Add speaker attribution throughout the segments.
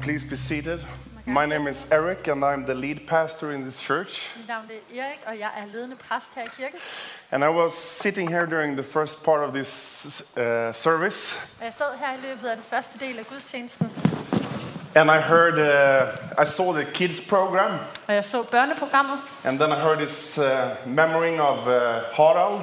Speaker 1: please be seated.
Speaker 2: Man kan
Speaker 1: My
Speaker 2: sætte
Speaker 1: name is Eric, and I'm the lead pastor in this church.
Speaker 2: Mit navn det er Erik, og jeg er ledende præst her i kirken.
Speaker 1: And I was sitting here during the first part of this uh, service,
Speaker 2: Og jeg sad her i løbet af den første del af gudstjenesten,
Speaker 1: and I heard, uh, I saw the kids program,
Speaker 2: og jeg så børneprogrammet,
Speaker 1: and then I heard this uh, memory of uh, Harald,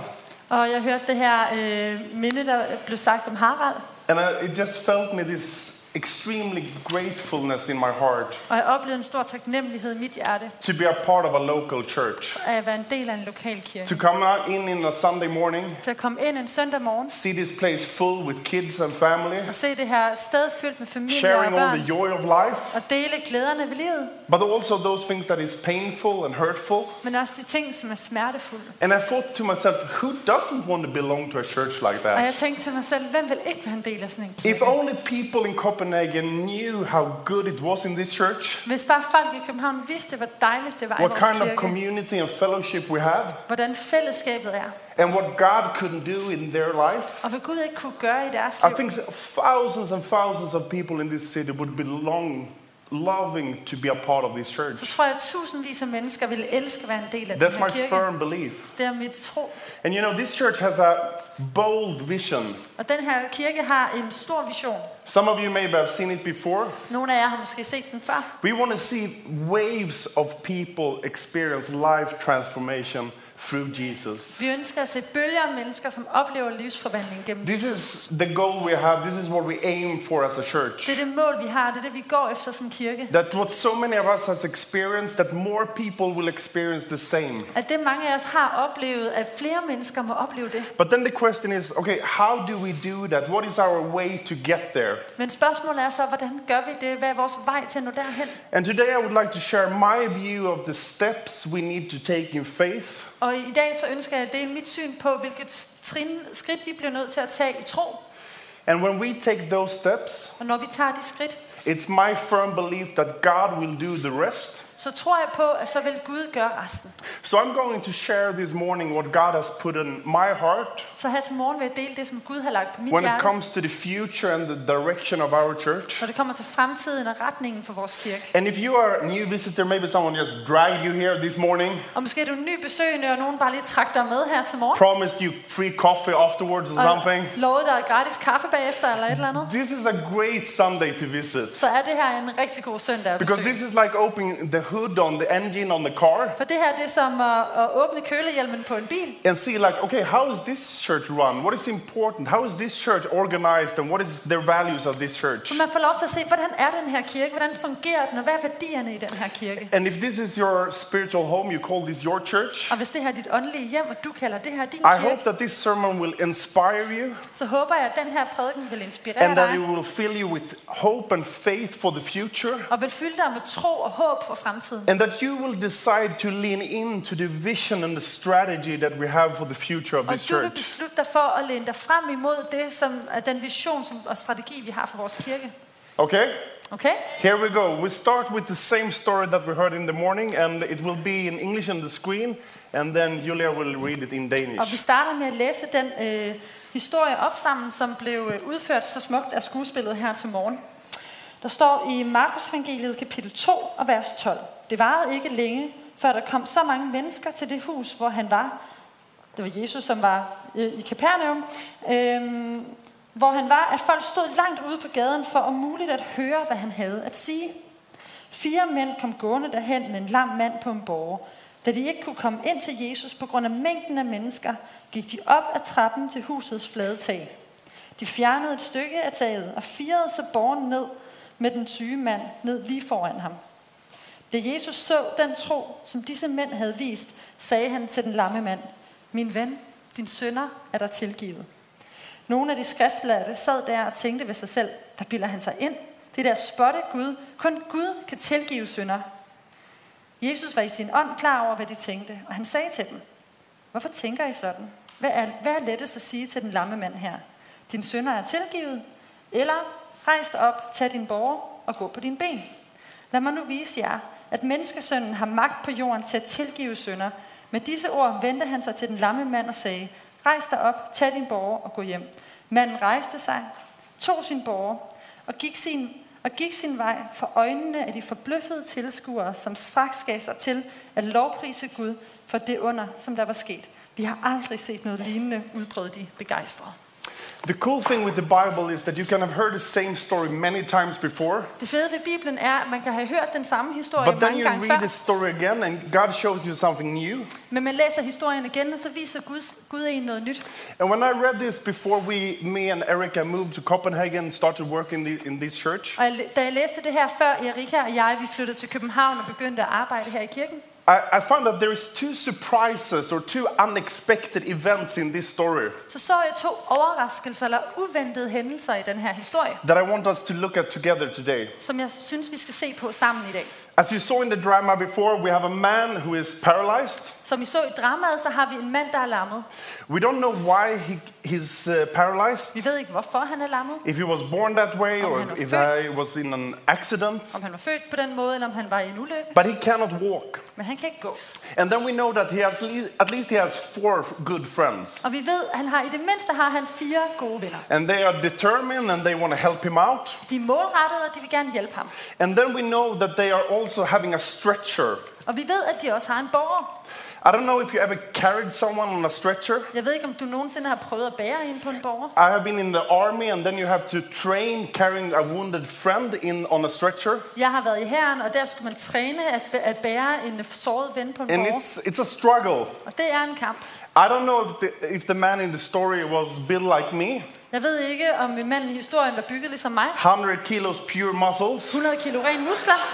Speaker 2: og jeg hørte det her øh, minde, der blev sagt om Harald.
Speaker 1: and I, it just felt me this extremely gratefulness in my heart
Speaker 2: Og jeg oplevede en stor taknemmelighed i mit hjerte
Speaker 1: to be a part of a local church,
Speaker 2: af at være en del af en lokal kirke.
Speaker 1: to come out in in a Sunday morning,
Speaker 2: Til at komme ind en søndag morgen
Speaker 1: see this place full with kids and family,
Speaker 2: og se det her sted fyldt med familier og
Speaker 1: sharing all
Speaker 2: børn,
Speaker 1: the joy of life.
Speaker 2: og dele glæderne ved livet,
Speaker 1: But also those things that is painful and hurtful.
Speaker 2: men også de ting, som er smertefulde.
Speaker 1: And I thought to myself, who doesn't want to belong to a church like
Speaker 2: Og
Speaker 1: that?
Speaker 2: jeg tænkte til mig selv, hvem vil ikke være en del af sådan en
Speaker 1: If
Speaker 2: kirke?
Speaker 1: only people in Copenhagen knew how good it was in this church,
Speaker 2: Hvis bare folk i København vidste, hvor dejligt det var i
Speaker 1: what
Speaker 2: vores
Speaker 1: kind of
Speaker 2: kirke,
Speaker 1: community and fellowship we have,
Speaker 2: hvordan fællesskabet er,
Speaker 1: and what God could do in their life,
Speaker 2: og hvad Gud ikke kunne gøre i deres
Speaker 1: I
Speaker 2: liv.
Speaker 1: think thousands and thousands of people in this city would belong, loving to be a part of this
Speaker 2: så
Speaker 1: church.
Speaker 2: tror jeg, at tusindvis af mennesker ville elske at være en del af den
Speaker 1: That's
Speaker 2: her
Speaker 1: my
Speaker 2: kirke.
Speaker 1: firm belief.
Speaker 2: Det er mit tro.
Speaker 1: And you know, this church has a bold vision.
Speaker 2: Og den her kirke har en stor vision.
Speaker 1: Some of you maybe have seen it before.
Speaker 2: Nogle af jer har måske set den før.
Speaker 1: We want to see waves of people experience life transformation through Jesus.
Speaker 2: Vi ønsker at se bølger af mennesker, som oplever livsforvandling gennem
Speaker 1: This is the goal we have. This is what we aim for as a church.
Speaker 2: Det er det mål, vi har. Det er det, vi går efter som kirke.
Speaker 1: That what so many of us has experienced, that more people will experience the same.
Speaker 2: At det mange af os har oplevet, at flere mennesker må opleve det.
Speaker 1: But then the question is, okay, how do we do that? What is our way to get there?
Speaker 2: Men spørgsmålet er så, hvordan gør vi det? Hvad er vores vej til at nå derhen?
Speaker 1: And today I would like to share my view of the steps we need to take in faith
Speaker 2: Og i dag så ønsker jeg, det er mit syn på, hvilket trin, skridt vi bliver nødt til at tage i tro.
Speaker 1: and when we take those steps,
Speaker 2: Og når vi tager de skridt,
Speaker 1: it's my firm belief that God will do the rest.
Speaker 2: så tror jeg på, at så vil Gud gøre resten.
Speaker 1: So I'm going to share this morning what God has put in my heart
Speaker 2: Så her til morgen vil jeg dele det, som Gud har lagt på mit
Speaker 1: when it
Speaker 2: hjerte,
Speaker 1: comes to the future and the direction of our church.
Speaker 2: når det kommer til fremtiden og retningen for vores kirke.
Speaker 1: And if you are a new visitor, maybe someone just dragged you here this morning,
Speaker 2: Og måske er du en ny besøgende, og nogen bare lige trak dig med her til morgen.
Speaker 1: promised you free coffee afterwards
Speaker 2: Oh.
Speaker 1: or something.
Speaker 2: Og lovede dig gratis kaffe bagefter eller et eller andet.
Speaker 1: This is a great Sunday to visit
Speaker 2: Så er det her en rigtig god søndag at
Speaker 1: because
Speaker 2: besøge.
Speaker 1: this is like opening the hood on the engine on the car
Speaker 2: For det her det er som at, at åbne kølehjelmen på en bil.
Speaker 1: and see like okay how is this church run what is important how is this church organized and what is their values of this church
Speaker 2: Så man får lov til at se, hvordan er den her kirke? Hvordan fungerer den? Og hvad er værdierne i den her kirke?
Speaker 1: and if this is your spiritual home you call this your church
Speaker 2: Og hvis det her er dit åndelige hjem, og du kalder det her din
Speaker 1: I
Speaker 2: kirke,
Speaker 1: hope that this sermon will inspire you
Speaker 2: så håber jeg, at den her prædiken vil inspirere
Speaker 1: and that
Speaker 2: dig.
Speaker 1: it will fill you with hope and faith for the future,
Speaker 2: og vil fylde dig med tro og håb for fremtiden.
Speaker 1: and that you will decide to lean into the vision and the strategy that we have for the future of
Speaker 2: Og
Speaker 1: this
Speaker 2: du vil
Speaker 1: church.
Speaker 2: beslutte dig for at læne dig frem imod det, som er den vision som, og strategi, vi har for vores kirke.
Speaker 1: Okay?
Speaker 2: Okay?
Speaker 1: Here we go. We start with the same story that we heard in the morning, and it will be in English on the screen, and then Julia will read it in
Speaker 2: Og vi
Speaker 1: Danish.
Speaker 2: starter med at læse den øh, historie op sammen, som blev øh, udført så smukt af skuespillet her til morgen. Der står i Markus evangeliet kapitel 2 og vers 12. Det varede ikke længe, før der kom så mange mennesker til det hus, hvor han var. Det var Jesus, som var øh, i Kapernaum. Øh, hvor han var, at folk stod langt ude på gaden for om muligt at høre, hvad han havde at sige. Fire mænd kom gående derhen med en lam mand på en borge. Da de ikke kunne komme ind til Jesus på grund af mængden af mennesker, gik de op ad trappen til husets flade tag. De fjernede et stykke af taget og firede så borgen ned med den syge mand ned lige foran ham. Da Jesus så den tro, som disse mænd havde vist, sagde han til den lamme mand, Min ven, din sønner er der tilgivet. Nogle af de skriftlærte sad der og tænkte ved sig selv, hvad bilder han sig ind? Det der spotte Gud, kun Gud kan tilgive synder. Jesus var i sin ånd klar over, hvad de tænkte, og han sagde til dem, hvorfor tænker I sådan? Hvad er, hvad er lettest at sige til den lamme mand her? Din sønner er tilgivet, eller rejs dig op, tag din borger og gå på dine ben. Lad mig nu vise jer, at menneskesønnen har magt på jorden til at tilgive sønder. Med disse ord vendte han sig til den lamme mand og sagde, rejs dig op, tag din borger og gå hjem. Manden rejste sig, tog sin borger og gik sin og gik sin vej for øjnene af de forbløffede tilskuere, som straks gav sig til at lovprise Gud for det under, som der var sket. Vi har aldrig set noget lignende, udbrød de begejstrede.
Speaker 1: The cool thing with the Bible is that you can have heard the same story many times before,
Speaker 2: Det fede ved Bibelen er, at man kan have hørt den samme historie
Speaker 1: but then
Speaker 2: mange
Speaker 1: you
Speaker 2: gange
Speaker 1: read
Speaker 2: før,
Speaker 1: the story again and God shows you something new.
Speaker 2: men man læser historien igen, og så viser Gud, Gud en noget nyt.
Speaker 1: And when I read this before we, me and Erica moved to Copenhagen and started working the, in this church,
Speaker 2: Og jeg, da jeg læste det her før, Erika og jeg, vi flyttede til København og begyndte at arbejde her i kirken,
Speaker 1: I, I found that there is two surprises or two unexpected events in this story
Speaker 2: så så jeg to overraskelser eller uventede hændelser i den her historie,
Speaker 1: that I want us to look at together today.
Speaker 2: som jeg synes, vi skal se på sammen i dag.
Speaker 1: As you saw in the drama before, we have a man who is paralyzed.
Speaker 2: Som I så i dramaet, så har vi en mand, der er lammet.
Speaker 1: We don't know why he, he's uh, paralyzed.
Speaker 2: Vi ved ikke, hvorfor han er lammet.
Speaker 1: If he was born that way
Speaker 2: Om
Speaker 1: or
Speaker 2: han var
Speaker 1: if, if
Speaker 2: født.
Speaker 1: he was in an accident,
Speaker 2: Om han var født på den måde, eller om han var i en ulykke.
Speaker 1: but he cannot walk.
Speaker 2: Men han kan ikke gå.
Speaker 1: And then we know that he has le- at least he has four f- good friends,
Speaker 2: Og vi ved, at han har, i det mindste har han fire gode venner.
Speaker 1: and they are determined and they want to help him out.
Speaker 2: De er målrettede, og de vil gerne hjælpe ham.
Speaker 1: And then we know that they are also having a stretcher.
Speaker 2: Og vi ved, at de også har en borger.
Speaker 1: I don't know if you ever carried someone on a stretcher.
Speaker 2: Jeg ved ikke, om du nogensinde har prøvet at bære ind på en borger.
Speaker 1: I have been in the army, and then you have to train carrying a wounded friend in on a stretcher.
Speaker 2: Jeg har været i hæren, og der skulle man træne at, bæ- at bære en såret ven på en
Speaker 1: And
Speaker 2: borger.
Speaker 1: it's it's a struggle.
Speaker 2: Og det er en kamp.
Speaker 1: I don't know if the, if the man in the story was built like me,
Speaker 2: Jeg ved ikke, om en mand i historien var bygget ligesom mig.
Speaker 1: 100 kilos pure muscles.
Speaker 2: 100 kilo ren muskler.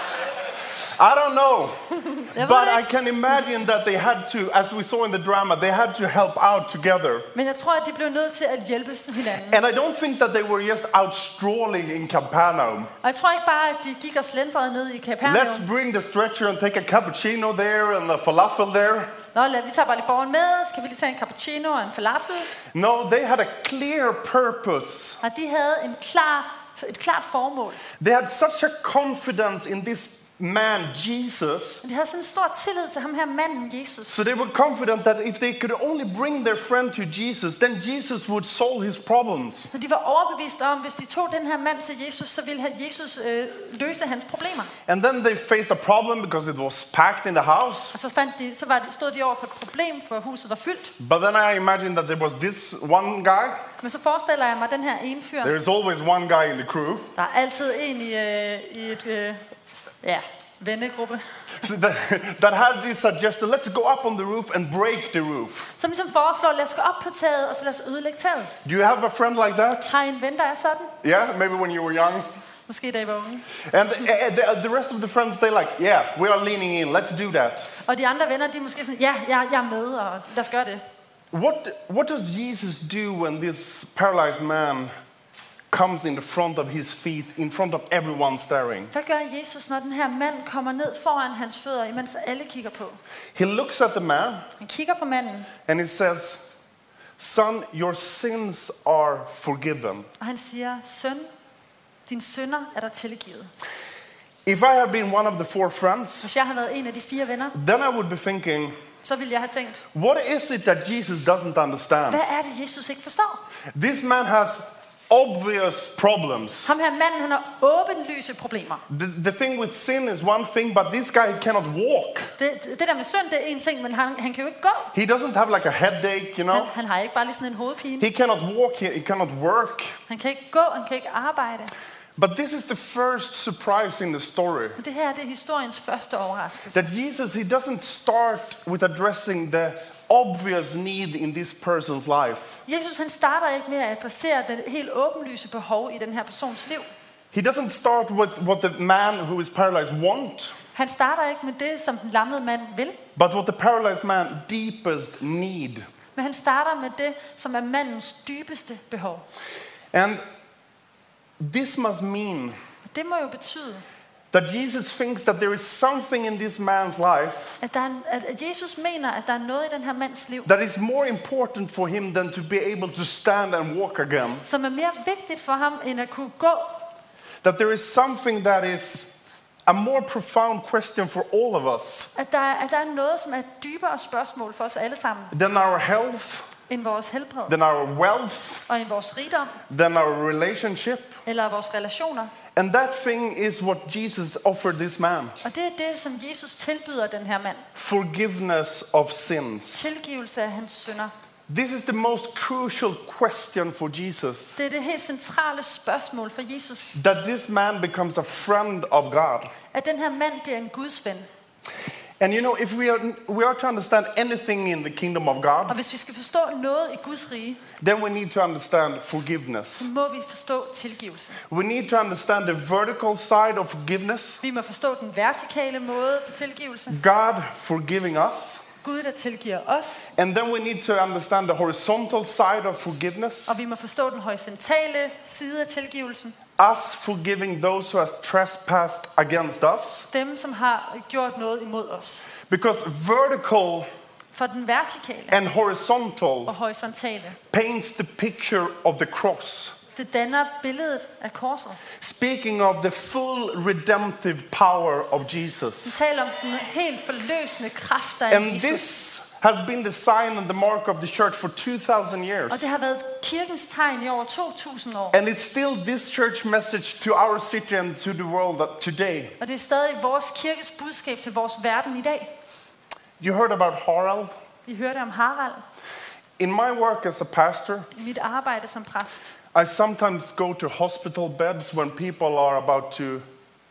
Speaker 1: I don't know.
Speaker 2: Jeg ved
Speaker 1: But
Speaker 2: det
Speaker 1: I
Speaker 2: ikke.
Speaker 1: can imagine that they had to, as we saw in the drama, they had to help out together.
Speaker 2: Men jeg tror, at de blev nødt til at hjælpe hinanden.
Speaker 1: And I don't think that they were just out strolling in Capernaum.
Speaker 2: Og jeg tror ikke bare, at de gik og slendrede ned i
Speaker 1: Let's
Speaker 2: Capernaum.
Speaker 1: bring the stretcher and take a cappuccino there and a falafel there.
Speaker 2: Nå, lad, vi tager bare lige borgeren med, så kan vi lige tage en cappuccino og en falafel.
Speaker 1: No, they had a clear purpose.
Speaker 2: Og de havde en klar, et klart formål.
Speaker 1: They had such a confidence in this man, Jesus.
Speaker 2: Og de havde sådan en stor tillid til ham her manden, Jesus.
Speaker 1: So they were confident that if they could only bring their friend to Jesus, then Jesus would solve his problems.
Speaker 2: Så de var overbeviste om, at hvis de tog den her mand til Jesus, så ville han- Jesus øh, løse hans problemer.
Speaker 1: And then they faced a problem because it was packed in the house.
Speaker 2: Og så, fandt de, så var de, stod de over for et problem, for huset var fyldt.
Speaker 1: But then I imagine that there was this one guy.
Speaker 2: Men så forestiller jeg mig den her ene fyr.
Speaker 1: There is always one guy in the crew.
Speaker 2: Der er altid en i, øh, i et øh, ja, vennegruppe,
Speaker 1: So that, that had this suggestion let's go up on the roof and break the roof.
Speaker 2: som ligesom foreslår, lad os gå op på taget, og så lad os ødelægge taget.
Speaker 1: Do you have a friend like that?
Speaker 2: Har I en ven, der er sådan?
Speaker 1: Yeah, maybe when you were young.
Speaker 2: Måske da I var unge.
Speaker 1: And the, eh, the, the rest of the friends, they like, yeah, we are leaning in, let's do that.
Speaker 2: Og de andre venner, de er måske sådan, ja, jeg, jeg er med, og lad os gøre det.
Speaker 1: What, what does Jesus do when this paralyzed man comes in the front of his feet, in front of everyone staring?
Speaker 2: Hvad gør Jesus, når den her mand kommer ned foran hans fødder, imens alle kigger på?
Speaker 1: He looks at the man
Speaker 2: Han kigger på manden,
Speaker 1: and he says, Son, your sins are forgiven.
Speaker 2: og han siger, søn, din sønner er der tilgivet.
Speaker 1: If I had been one of the four friends,
Speaker 2: Hvis jeg havde været en af de fire venner,
Speaker 1: then I would be thinking,
Speaker 2: så ville jeg have tænkt,
Speaker 1: what is it that Jesus doesn't understand?
Speaker 2: hvad er det, Jesus ikke forstår?
Speaker 1: This man has obvious problems.
Speaker 2: Ham her manden, han har åbenlyse problemer.
Speaker 1: The, the thing with sin is one thing, but this guy cannot walk.
Speaker 2: Det, det der med synd, det er en ting, men han, han kan jo ikke gå.
Speaker 1: He doesn't have like a headache, you
Speaker 2: Han,
Speaker 1: know?
Speaker 2: han har ikke bare lige sådan en hovedpine.
Speaker 1: He cannot walk, he, he cannot work.
Speaker 2: Han kan ikke gå, han kan ikke arbejde.
Speaker 1: But this is the first surprise in the story
Speaker 2: Men det her, det er historiens første overraskelse.
Speaker 1: that Jesus, he doesn't start with addressing the obvious need in this person's life.
Speaker 2: Jesus han starter ikke med at adressere det helt åbenlyse behov i den her persons liv.
Speaker 1: He doesn't start with what the man who is paralyzed wants.
Speaker 2: Han starter ikke med det, som den lammede mand vil,
Speaker 1: But what the paralyzed man deepest need.
Speaker 2: men han starter med det, som er mandens dybeste behov.
Speaker 1: And this must mean
Speaker 2: Og det må jo betyde,
Speaker 1: that Jesus thinks that there is something in this man's life
Speaker 2: at, der er en, at- at Jesus mener, at der er noget i den her mands liv,
Speaker 1: that is more important for him than to be able to stand and walk again.
Speaker 2: som er mere vigtigt for ham, end at kunne gå.
Speaker 1: That there is something that is a more profound question for all of us
Speaker 2: At der, er- at der er noget, som er et dybere spørgsmål for os alle sammen,
Speaker 1: than our health,
Speaker 2: end vores helbred,
Speaker 1: than our wealth,
Speaker 2: og end vores rigdom,
Speaker 1: than our relationship,
Speaker 2: eller vores relationer,
Speaker 1: And that thing is what Jesus offered this man
Speaker 2: Og det er det, som Jesus tilbyder den her mand.
Speaker 1: forgiveness of sins.
Speaker 2: Tilgivelse af hans synder.
Speaker 1: This is the most crucial question for Jesus
Speaker 2: Det er det helt centrale spørgsmål for Jesus,
Speaker 1: that this man becomes a friend of God.
Speaker 2: at den her mand bliver en Guds ven.
Speaker 1: And you know, if we are, we are to understand anything in the kingdom of
Speaker 2: Og
Speaker 1: God,
Speaker 2: hvis vi skal forstå noget i Guds rige,
Speaker 1: then we need to understand
Speaker 2: så
Speaker 1: forgiveness.
Speaker 2: må vi forstå tilgivelse.
Speaker 1: We need to understand the vertical side of forgiveness
Speaker 2: Vi må forstå den vertikale måde på tilgivelse.
Speaker 1: God forgiving us.
Speaker 2: Gud, der tilgiver os.
Speaker 1: And then we need to understand the horizontal side of forgiveness
Speaker 2: Og vi må forstå den horisontale side af tilgivelsen.
Speaker 1: us forgiving those who have trespassed against us.
Speaker 2: Dem, som har gjort noget imod os.
Speaker 1: Because vertical
Speaker 2: For den vertikale
Speaker 1: and horizontal
Speaker 2: og horisontale,
Speaker 1: paints the picture of the cross.
Speaker 2: det danner billedet af korset.
Speaker 1: Speaking of the full redemptive power of
Speaker 2: Vi
Speaker 1: Jesus.
Speaker 2: taler om den helt forløsende kraft, der er i
Speaker 1: And
Speaker 2: Jesus.
Speaker 1: this has been the sign and the mark of the church for 2,000
Speaker 2: Og
Speaker 1: years.
Speaker 2: det har været kirkens tegn i over 2.000 år.
Speaker 1: And it's still this church message to our city and to the world that today.
Speaker 2: Og det er stadig vores kirkes budskab til vores verden i dag.
Speaker 1: You heard about Harald.
Speaker 2: Vi hørte om Harald
Speaker 1: In my work as a pastor,
Speaker 2: i mit arbejde som præst.
Speaker 1: I sometimes go to hospital beds when people are about to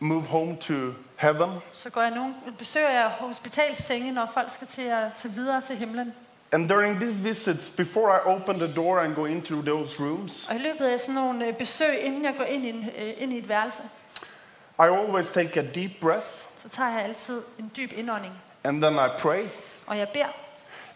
Speaker 1: move home to heaven.
Speaker 2: Så går jeg nogle, besøger jeg hospitalssenge, når folk skal til at tage videre til himlen.
Speaker 1: And during these visits, before I open the door and go into those rooms,
Speaker 2: Og i løbet af sådan nogle øh, besøg, inden jeg går ind i, en, øh, ind i et værelse,
Speaker 1: I always take a deep breath
Speaker 2: så tager jeg altid en dyb indånding.
Speaker 1: and then I pray.
Speaker 2: Og jeg beder,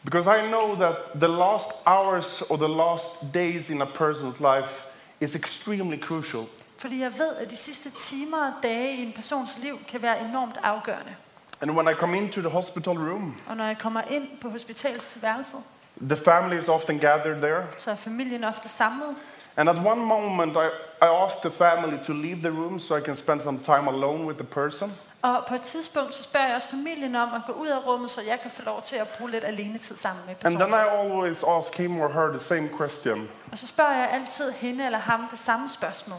Speaker 1: Because I know that the last hours or the last days in a person's life is extremely crucial.
Speaker 2: fordi jeg ved, at de sidste timer og dage i en persons liv kan være enormt afgørende.
Speaker 1: And when I come into the hospital room,
Speaker 2: Og når jeg kommer ind på hospitalsværelset,
Speaker 1: the family is often gathered there.
Speaker 2: så er familien ofte samlet.
Speaker 1: And at one moment, I, I ask the family to leave the room so I can spend some time alone with the person.
Speaker 2: Og på et tidspunkt, så spørger jeg også familien om at gå ud af rummet, så jeg kan få lov til at bruge lidt alene tid sammen med
Speaker 1: And
Speaker 2: personen.
Speaker 1: then I always ask him or her the same question
Speaker 2: Og så spørger jeg altid hende eller ham det samme spørgsmål.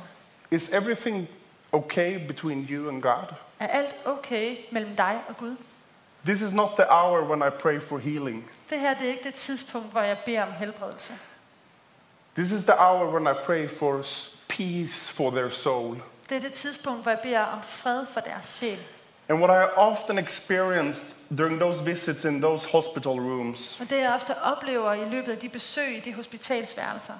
Speaker 1: Is everything okay between you and God?
Speaker 2: Er alt okay mellem dig og Gud?
Speaker 1: This is not the hour when I pray for healing.
Speaker 2: Det her det er ikke det tidspunkt, hvor jeg beder om helbredelse.
Speaker 1: This is the hour when I pray for s- peace for their soul.
Speaker 2: Det er det tidspunkt, hvor jeg beder om fred for deres sjæl.
Speaker 1: And what I often experienced during those visits in those hospital rooms
Speaker 2: Og det jeg ofte oplever i løbet af de besøg i de hospitalsværelser,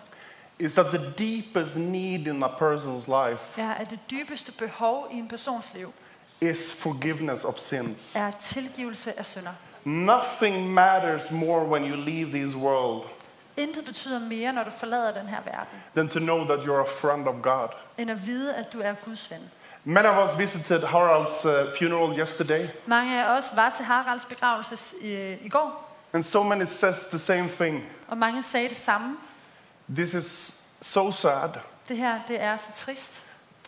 Speaker 1: is that the deepest need in a person's life
Speaker 2: er, at det dybeste behov i en persons liv
Speaker 1: is forgiveness of sins.
Speaker 2: er tilgivelse af synder.
Speaker 1: Nothing matters more when you leave this world
Speaker 2: Intet betyder mere, når du forlader den her verden,
Speaker 1: than to know that you're a friend of God.
Speaker 2: end at vide, at du er Guds ven.
Speaker 1: Many of us visited Harald's uh, funeral yesterday,
Speaker 2: Mange af os var til Haralds begravelse i, i går,
Speaker 1: and so many says the same thing.
Speaker 2: og mange sagde det samme.
Speaker 1: This is so sad.
Speaker 2: Det her, det er så trist.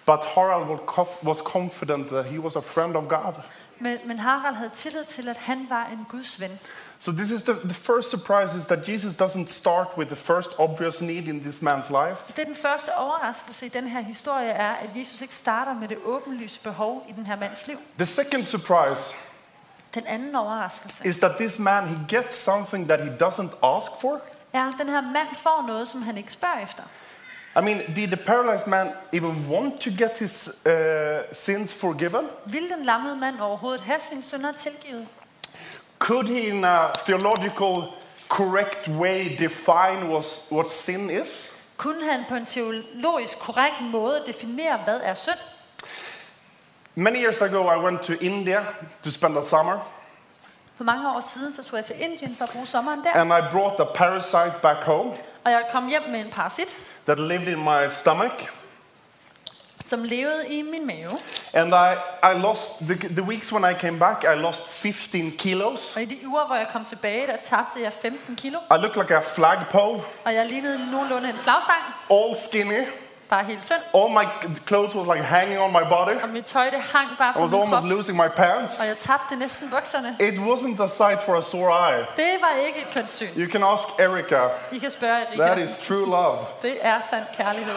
Speaker 1: But Harald was conf- was confident that he was a friend of God.
Speaker 2: Men, men Harald havde tillid til, at han var en Guds ven.
Speaker 1: So this is the, the first surprise is that Jesus doesn't start with the first obvious need in this man's life.
Speaker 2: Det er den første overraskelse i den her historie er, at Jesus ikke starter med det åbenlyse behov i den her mands liv.
Speaker 1: The second surprise
Speaker 2: Den anden overraskelse
Speaker 1: is that this man he gets something that he doesn't ask for.
Speaker 2: er, at den her mand får noget, som han ikke spørger efter.
Speaker 1: I mean, did the paralyzed man even want to get his uh, sins forgiven?
Speaker 2: Vil den lammede mand overhovedet have sine synder tilgivet?
Speaker 1: Could he, in a theological correct way, define was, what sin is?
Speaker 2: Kunne han på en teologisk korrekt måde definere, hvad er synd?
Speaker 1: Many years ago, I went to India to spend a summer,
Speaker 2: For mange år siden så tog jeg til Indien for at bruge sommeren der,
Speaker 1: and I brought a parasite back home
Speaker 2: og jeg kom hjem med en parasit,
Speaker 1: that lived in my stomach.
Speaker 2: som levede i min mave.
Speaker 1: And I, I lost, the, the weeks when I came back, I lost 15 kilos.
Speaker 2: Og i de uger, hvor jeg kom tilbage, der tabte jeg 15 kilo,
Speaker 1: I looked like a flagpole,
Speaker 2: og jeg lignede nogenlunde en flagstang.
Speaker 1: all skinny.
Speaker 2: bare helt tynd,
Speaker 1: All my clothes was like hanging on my body.
Speaker 2: og mit tøj det hang bare
Speaker 1: I
Speaker 2: på
Speaker 1: was
Speaker 2: min krop,
Speaker 1: almost losing my pants.
Speaker 2: og jeg tabte næsten bukserne.
Speaker 1: It wasn't a sight for a sore eye.
Speaker 2: Det var ikke et kønt syn.
Speaker 1: You can ask Erica.
Speaker 2: I kan spørge
Speaker 1: That
Speaker 2: Erika.
Speaker 1: is true love.
Speaker 2: Det er sand kærlighed.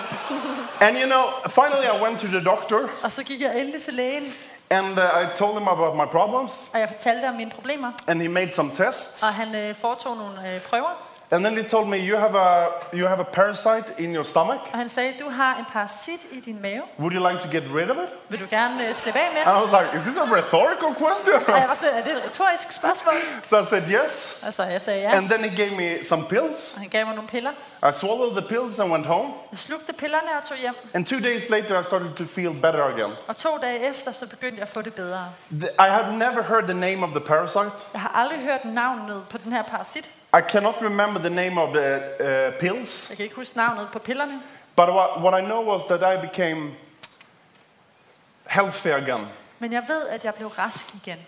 Speaker 1: And you know, finally I went to the doctor
Speaker 2: og så gik jeg endelig til lægen,
Speaker 1: and uh, I told him about my problems
Speaker 2: og jeg fortalte om mine problemer,
Speaker 1: and he made some tests.
Speaker 2: og han øh, foretog nogle øh, prøver,
Speaker 1: And then he told me you have a you have a parasite in your stomach.
Speaker 2: og han sagde, du har en parasit i din mave.
Speaker 1: Would you like to get rid of it?
Speaker 2: Vil du gerne øh, slippe af med
Speaker 1: And
Speaker 2: den?
Speaker 1: I was like, is this a rhetorical question?
Speaker 2: Og jeg var sådan, er det et retorisk spørgsmål?
Speaker 1: So I said yes.
Speaker 2: Og så jeg sagde ja,
Speaker 1: And then he gave me some pills.
Speaker 2: og han gav mig nogle piller.
Speaker 1: I swallowed the pills and went home.
Speaker 2: Jeg slugte pillerne og tog hjem,
Speaker 1: And two days later, I started to feel better again.
Speaker 2: og to dage efter, så begyndte jeg at få det bedre.
Speaker 1: The- I had never heard the name of the parasite.
Speaker 2: Jeg har aldrig hørt navnet på den her parasit.
Speaker 1: I cannot remember the name of the uh, pills.
Speaker 2: Jeg kan ikke huske navnet på pillerne.
Speaker 1: But what, what I know was that I became healthy again.
Speaker 2: Men jeg ved, at jeg blev rask igen.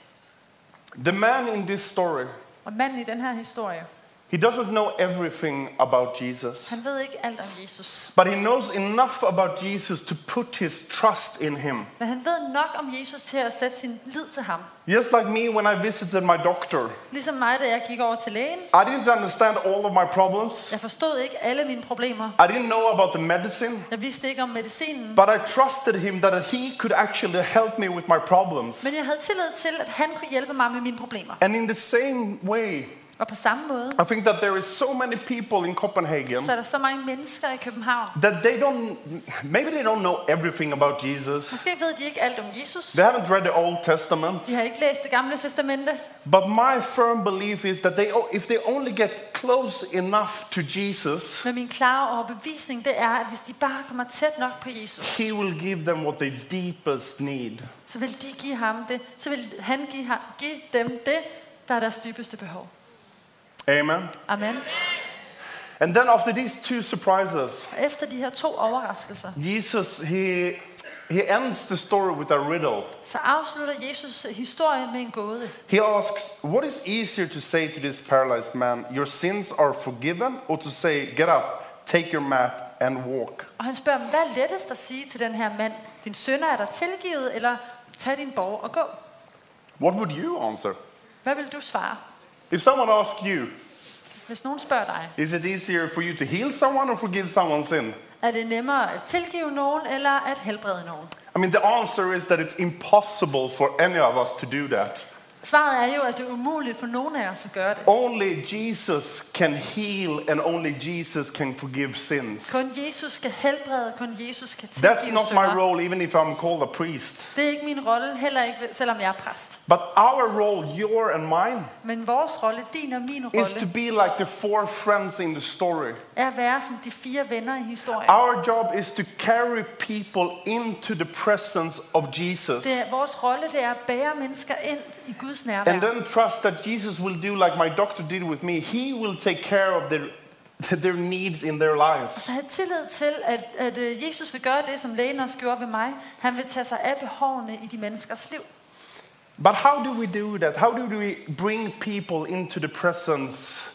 Speaker 1: The man in this story,
Speaker 2: Og manden i den her historie,
Speaker 1: he doesn't know everything about Jesus,
Speaker 2: han ved ikke alt om Jesus.
Speaker 1: but he knows enough about Jesus to put his trust in him.
Speaker 2: Men han ved nok om Jesus til at sætte sin lid til ham.
Speaker 1: Just like me when I visited my doctor,
Speaker 2: Ligesom mig, da jeg gik over til lægen.
Speaker 1: I didn't understand all of my problems.
Speaker 2: Jeg forstod ikke alle mine problemer.
Speaker 1: I didn't know about the medicine,
Speaker 2: Jeg vidste ikke om medicinen.
Speaker 1: but I trusted him that he could actually help me with my problems.
Speaker 2: Men jeg havde tillid til, at han kunne hjælpe mig med mine problemer.
Speaker 1: And in the same way,
Speaker 2: Og på samme måde,
Speaker 1: I think that there is so many people in Copenhagen
Speaker 2: så er der så mange mennesker i København.
Speaker 1: that they don't maybe they don't know everything about Jesus.
Speaker 2: Måske ved de ikke alt om Jesus.
Speaker 1: They haven't read the Old Testament.
Speaker 2: De har ikke læst det gamle testamente.
Speaker 1: But my firm belief is that they if they only get close enough to Jesus,
Speaker 2: Men min klare overbevisning, det er, at hvis de bare kommer tæt nok på Jesus,
Speaker 1: he will give them what they deepest need.
Speaker 2: så vil de give ham det. Så vil han give, ham, give dem det, der er deres dybeste behov.
Speaker 1: Amen.
Speaker 2: Amen.
Speaker 1: And then after these two surprises,
Speaker 2: Og efter de her to overraskelser,
Speaker 1: Jesus he he ends the story with a riddle.
Speaker 2: så afslutter Jesus historien med en gåde.
Speaker 1: He asks, What is easier to say to this paralyzed man, Your sins are forgiven, or to say, Get up, take your mat, and walk?
Speaker 2: Og han spørger, dem, hvad er lettest at sige til den her mand? Din sønner er der tilgivet, eller tag din borg og gå.
Speaker 1: What would you answer?
Speaker 2: Hvad vil du svare,
Speaker 1: If someone asks you,
Speaker 2: hvis nogen spørger dig?
Speaker 1: Is it easier for you to heal someone or forgive someone's sin?
Speaker 2: Er det nemmere at tilgive nogen, eller at helbrede nogen?
Speaker 1: I mean, the answer is that it's impossible for any of us to do that.
Speaker 2: Svaret er jo, at det er umuligt for nogen af os at gøre det.
Speaker 1: Only Jesus can heal and only Jesus can forgive sins.
Speaker 2: Kun Jesus kan helbrede, kun Jesus kan tilgive
Speaker 1: That's not my
Speaker 2: synder.
Speaker 1: role, even if I'm called a priest.
Speaker 2: Det er ikke min rolle, heller ikke selvom jeg er præst.
Speaker 1: But our role, your and mine,
Speaker 2: Men vores rolle, din og min
Speaker 1: is to
Speaker 2: rolle,
Speaker 1: be like the four friends in the story.
Speaker 2: er at være som de fire venner i historien.
Speaker 1: Our job is to carry people into the presence of Jesus
Speaker 2: Det er, vores rolle, det er at bære mennesker ind i Guds nærvær.
Speaker 1: and then trust that Jesus will do like my doctor did with me. He will take care of their, their needs in their lives.
Speaker 2: Så have tillid til, at, at øh, Jesus vil gøre det, som lægen også gjorde ved mig. Han vil tage sig af behovene i de menneskers liv.
Speaker 1: But how do we do that? How do we bring people into the presence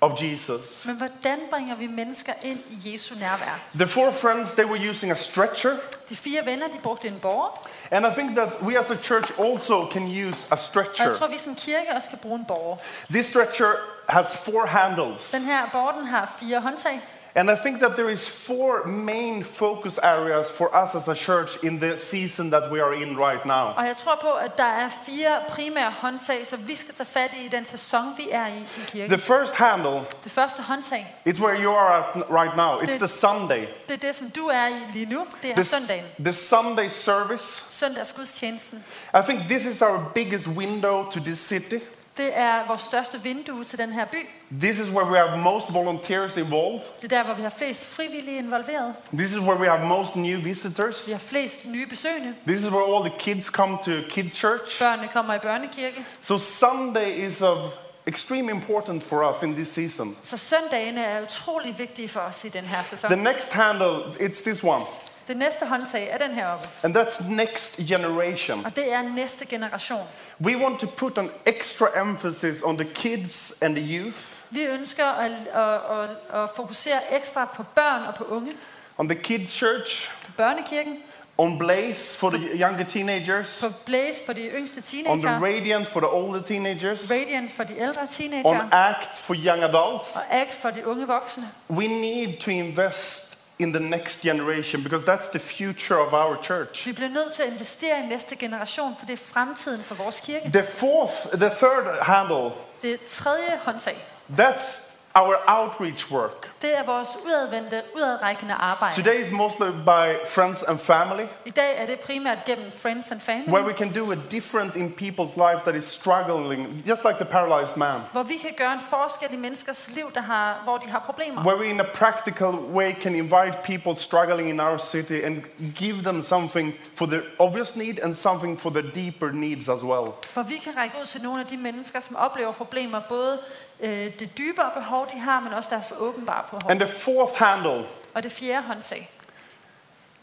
Speaker 1: of Jesus?
Speaker 2: Men hvordan bringer vi mennesker ind i Jesu nærvær?
Speaker 1: The four friends, they were using a stretcher.
Speaker 2: De fire venner, de brugte en borger.
Speaker 1: And I think that we as a church also can use a
Speaker 2: Og jeg
Speaker 1: stretcher.
Speaker 2: tror, vi som kirke også kan bruge en borger.
Speaker 1: This stretcher has four handles.
Speaker 2: Den her borger, den har fire håndtag.
Speaker 1: And I think that there is four main focus areas for us as a church in the season that we are in right now.
Speaker 2: Og jeg tror på, at der er fire primære håndtag, som vi skal tage fat i i den sæson, vi er i som kirke.
Speaker 1: The first handle
Speaker 2: Det første håndtag,
Speaker 1: is where you are at right now. It's
Speaker 2: The-
Speaker 1: the Sunday.
Speaker 2: det er det, som du er i lige nu. Det er
Speaker 1: The,
Speaker 2: søndagen.
Speaker 1: the Sunday service.
Speaker 2: Søndagsgudstjenesten.
Speaker 1: I think this is our biggest window to this city.
Speaker 2: Det er vores største vindue til den her by.
Speaker 1: This is where we have most volunteers involved.
Speaker 2: Det er der, hvor vi har flest frivillige involveret.
Speaker 1: This is where we have most new
Speaker 2: Vi
Speaker 1: visitors.
Speaker 2: har flest nye besøgende.
Speaker 1: This is where all the kids come to kids church.
Speaker 2: Børnene kommer i børnekirke.
Speaker 1: So Sunday is of extreme importance for us in this season.
Speaker 2: Så søndagene er utrolig vigtige for os i den her sæson.
Speaker 1: The next handle, it's this one.
Speaker 2: Det næste håndtag er den her oppe.
Speaker 1: And that's next generation.
Speaker 2: Og det er næste generation.
Speaker 1: We want to put an extra emphasis on the kids and the youth
Speaker 2: Vi ønsker at, at, at, at fokusere ekstra på børn og på unge.
Speaker 1: on the kids' church,
Speaker 2: på børnekirken,
Speaker 1: on Blaze for the younger teenagers,
Speaker 2: på Blaze for de yngste
Speaker 1: on the
Speaker 2: teenager,
Speaker 1: Radiant for the older teenagers,
Speaker 2: Radiant for de ældre
Speaker 1: on
Speaker 2: teenager,
Speaker 1: Act for young adults.
Speaker 2: og Act for de unge voksne.
Speaker 1: We need to invest in the next generation because that's the future of our church.
Speaker 2: Vi bliver nødt til at investere i næste generation, for det er fremtiden for vores kirke.
Speaker 1: The fourth, the third handle,
Speaker 2: Det tredje håndtag,
Speaker 1: that's our outreach work.
Speaker 2: det er vores udadvendte, udadrækkende arbejde.
Speaker 1: Today is mostly by friends and family,
Speaker 2: I dag er det primært gennem friends and family,
Speaker 1: where we can do a different in people's lives that is struggling, just like the paralyzed man.
Speaker 2: hvor vi kan gøre en forskel i menneskers liv, der har, hvor de har problemer.
Speaker 1: Where we, in a practical way, can invite people struggling in our city and give them something for their obvious need and something for their deeper needs as well.
Speaker 2: Hvor vi kan række ud til nogle af de mennesker, som oplever problemer, både øh, det dybere behov, de har, men også deres åbenbare behov.
Speaker 1: And the fourth handle,
Speaker 2: Og det fjerde håndtag,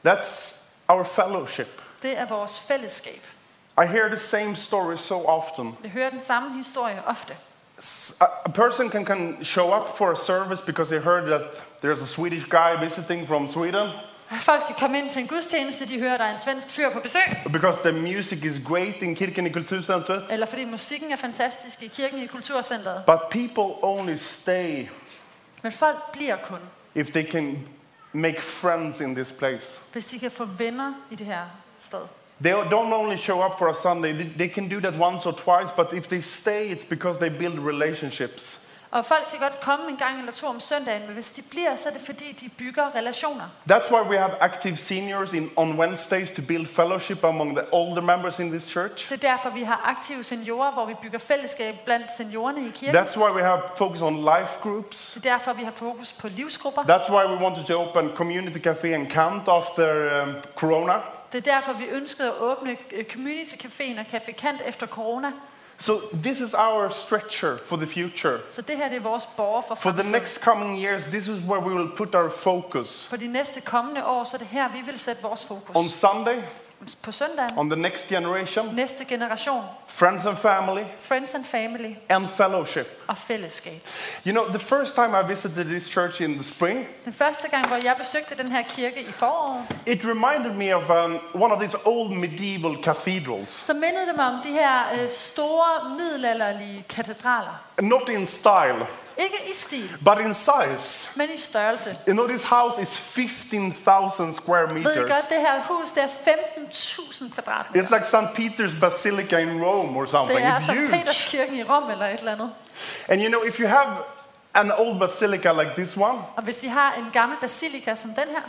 Speaker 1: that's our fellowship.
Speaker 2: det er vores fællesskab.
Speaker 1: I hear the same story so often.
Speaker 2: Vi hører den samme historie ofte.
Speaker 1: S- A a person can, can show up for a service because they heard that there's a Swedish guy visiting from Sweden,
Speaker 2: Folk kan komme ind til en gudstjeneste, de hører, der er en svensk fyr på besøg,
Speaker 1: because the music is great in Kirken Kulturcentret.
Speaker 2: eller fordi musikken er fantastisk i kirken i kulturcentret.
Speaker 1: But people only stay
Speaker 2: Men folk bliver kun,
Speaker 1: if they can make friends in this place.
Speaker 2: hvis de kan få venner i det her sted.
Speaker 1: They don't only show up for a Sunday, they they can do that once or twice, but if they stay, it's because they build relationships.
Speaker 2: Og folk kan godt komme en gang eller to om søndagen, men hvis de bliver, så er det fordi, de bygger relationer.
Speaker 1: That's why we have active seniors in, on Wednesdays to build fellowship among the older members in this church.
Speaker 2: Det er derfor, vi har aktive seniorer, hvor vi bygger fællesskab blandt seniorerne i kirken.
Speaker 1: That's why we have focus on life groups.
Speaker 2: Det er derfor, vi har fokus på livsgrupper.
Speaker 1: That's why we wanted to open community cafe and camp after um, Corona.
Speaker 2: Det er derfor, vi ønskede at åbne øh, community-caféen og Café Kant efter corona.
Speaker 1: So this is our stretcher for the future.
Speaker 2: Så det her det er vores borger for
Speaker 1: For the
Speaker 2: fremtiden.
Speaker 1: next coming years, this is where we will put our focus.
Speaker 2: For de næste kommende år, så er det her, vi vil sætte vores fokus.
Speaker 1: On Sunday,
Speaker 2: På søndagen,
Speaker 1: on the next generation,
Speaker 2: næste generation,
Speaker 1: friends and family,
Speaker 2: friends and family
Speaker 1: and fellowship.
Speaker 2: og fællesskab.
Speaker 1: You know, the first time I visited this church in the spring,
Speaker 2: Den første gang, hvor jeg besøgte den her kirke i foråret,
Speaker 1: it reminded me of um, one of these old medieval cathedrals.
Speaker 2: så mindede det mig om de her øh, store middelalderlige katedraler.
Speaker 1: Not in style,
Speaker 2: Ikke i stil,
Speaker 1: but in size.
Speaker 2: men i størrelse.
Speaker 1: You know, this house is 15,000 square
Speaker 2: Ved I
Speaker 1: meters.
Speaker 2: godt, det her hus, det er 15.000 kvadratmeter.
Speaker 1: It's like St. Peter's Basilica in Rome or something.
Speaker 2: Det er
Speaker 1: It's
Speaker 2: St.
Speaker 1: huge.
Speaker 2: Peterskirken i Rom eller et eller andet.
Speaker 1: And you know, if you have an old basilica like this one,
Speaker 2: Og hvis I har en gammel basilika som den her,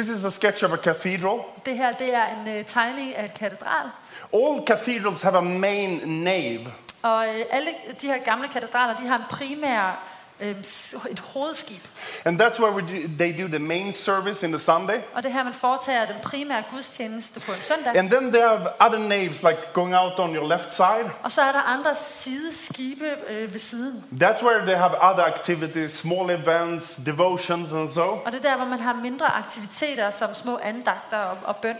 Speaker 1: this is a sketch of a cathedral.
Speaker 2: det her det er en øh, tegning af et katedral.
Speaker 1: All cathedrals have a main nave.
Speaker 2: Og øh, alle de her gamle katedraler, de har en primær, øh, s- et hovedskib.
Speaker 1: And that's where we do, they do the main service in the Sunday.
Speaker 2: Og det her, man foretager den primære gudstjeneste på en søndag.
Speaker 1: And then they have other naves, like going out on your left side.
Speaker 2: Og så er der andre sideskibe øh, ved siden.
Speaker 1: That's where they have other activities, small events, devotions, and so.
Speaker 2: Og det er der, hvor man har mindre aktiviteter, som små andagter og, og bøn.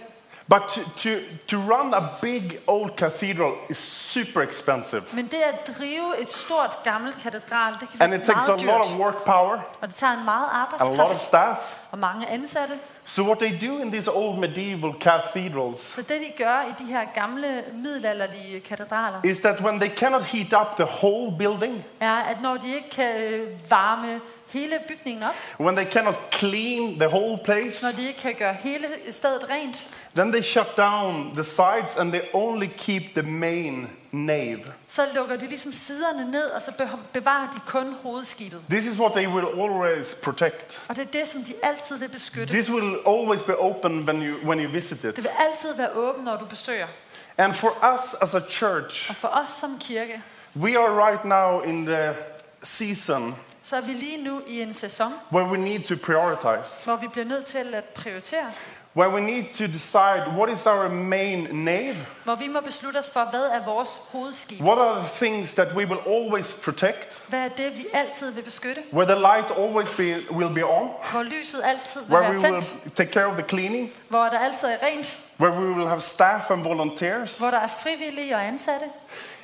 Speaker 1: But to, to, to run a big old cathedral is super expensive.
Speaker 2: Men det at drive et stort, gammelt katedral, det kan være
Speaker 1: And it takes a
Speaker 2: meget
Speaker 1: lot of
Speaker 2: dyrt.
Speaker 1: work power,
Speaker 2: Og det tager en meget
Speaker 1: a lot of
Speaker 2: arbejdskraft
Speaker 1: staff.
Speaker 2: og mange ansatte.
Speaker 1: So what they do in these old medieval cathedrals
Speaker 2: Så det, de gør i de her gamle, middelalderlige katedraler,
Speaker 1: is that when they cannot heat up the whole building,
Speaker 2: er, at når de ikke kan øh, varme hele bygningen op,
Speaker 1: when they cannot clean the whole place,
Speaker 2: når de ikke kan gøre hele stedet rent,
Speaker 1: then they shut down the sides and they only keep the main nave.
Speaker 2: så lukker de ligesom siderne ned, og så beh- bevarer de kun hovedskibet.
Speaker 1: This is what they will always protect.
Speaker 2: Og det er det, som de altid vil beskytte.
Speaker 1: This will always be open when you when you visit
Speaker 2: Det
Speaker 1: it.
Speaker 2: vil altid være åbent, når du besøger.
Speaker 1: And for us as a church,
Speaker 2: Og for os som kirke,
Speaker 1: we are right now in the season
Speaker 2: så er vi lige nu i en sæson,
Speaker 1: where we need to prioritize.
Speaker 2: hvor vi bliver nødt til at prioritere.
Speaker 1: Where we need to decide what is our main nave
Speaker 2: Hvor vi må beslutte os for, hvad er vores hovedskib?
Speaker 1: What are the things that we will always protect?
Speaker 2: Hvad er det, vi altid vil beskytte?
Speaker 1: Where the light always be, will be on?
Speaker 2: Hvor lyset altid vil
Speaker 1: Where
Speaker 2: være
Speaker 1: we will
Speaker 2: tændt?
Speaker 1: take care of the cleaning?
Speaker 2: Hvor der altid er rent?
Speaker 1: Where we will have staff and volunteers?
Speaker 2: Hvor der er frivillige og ansatte?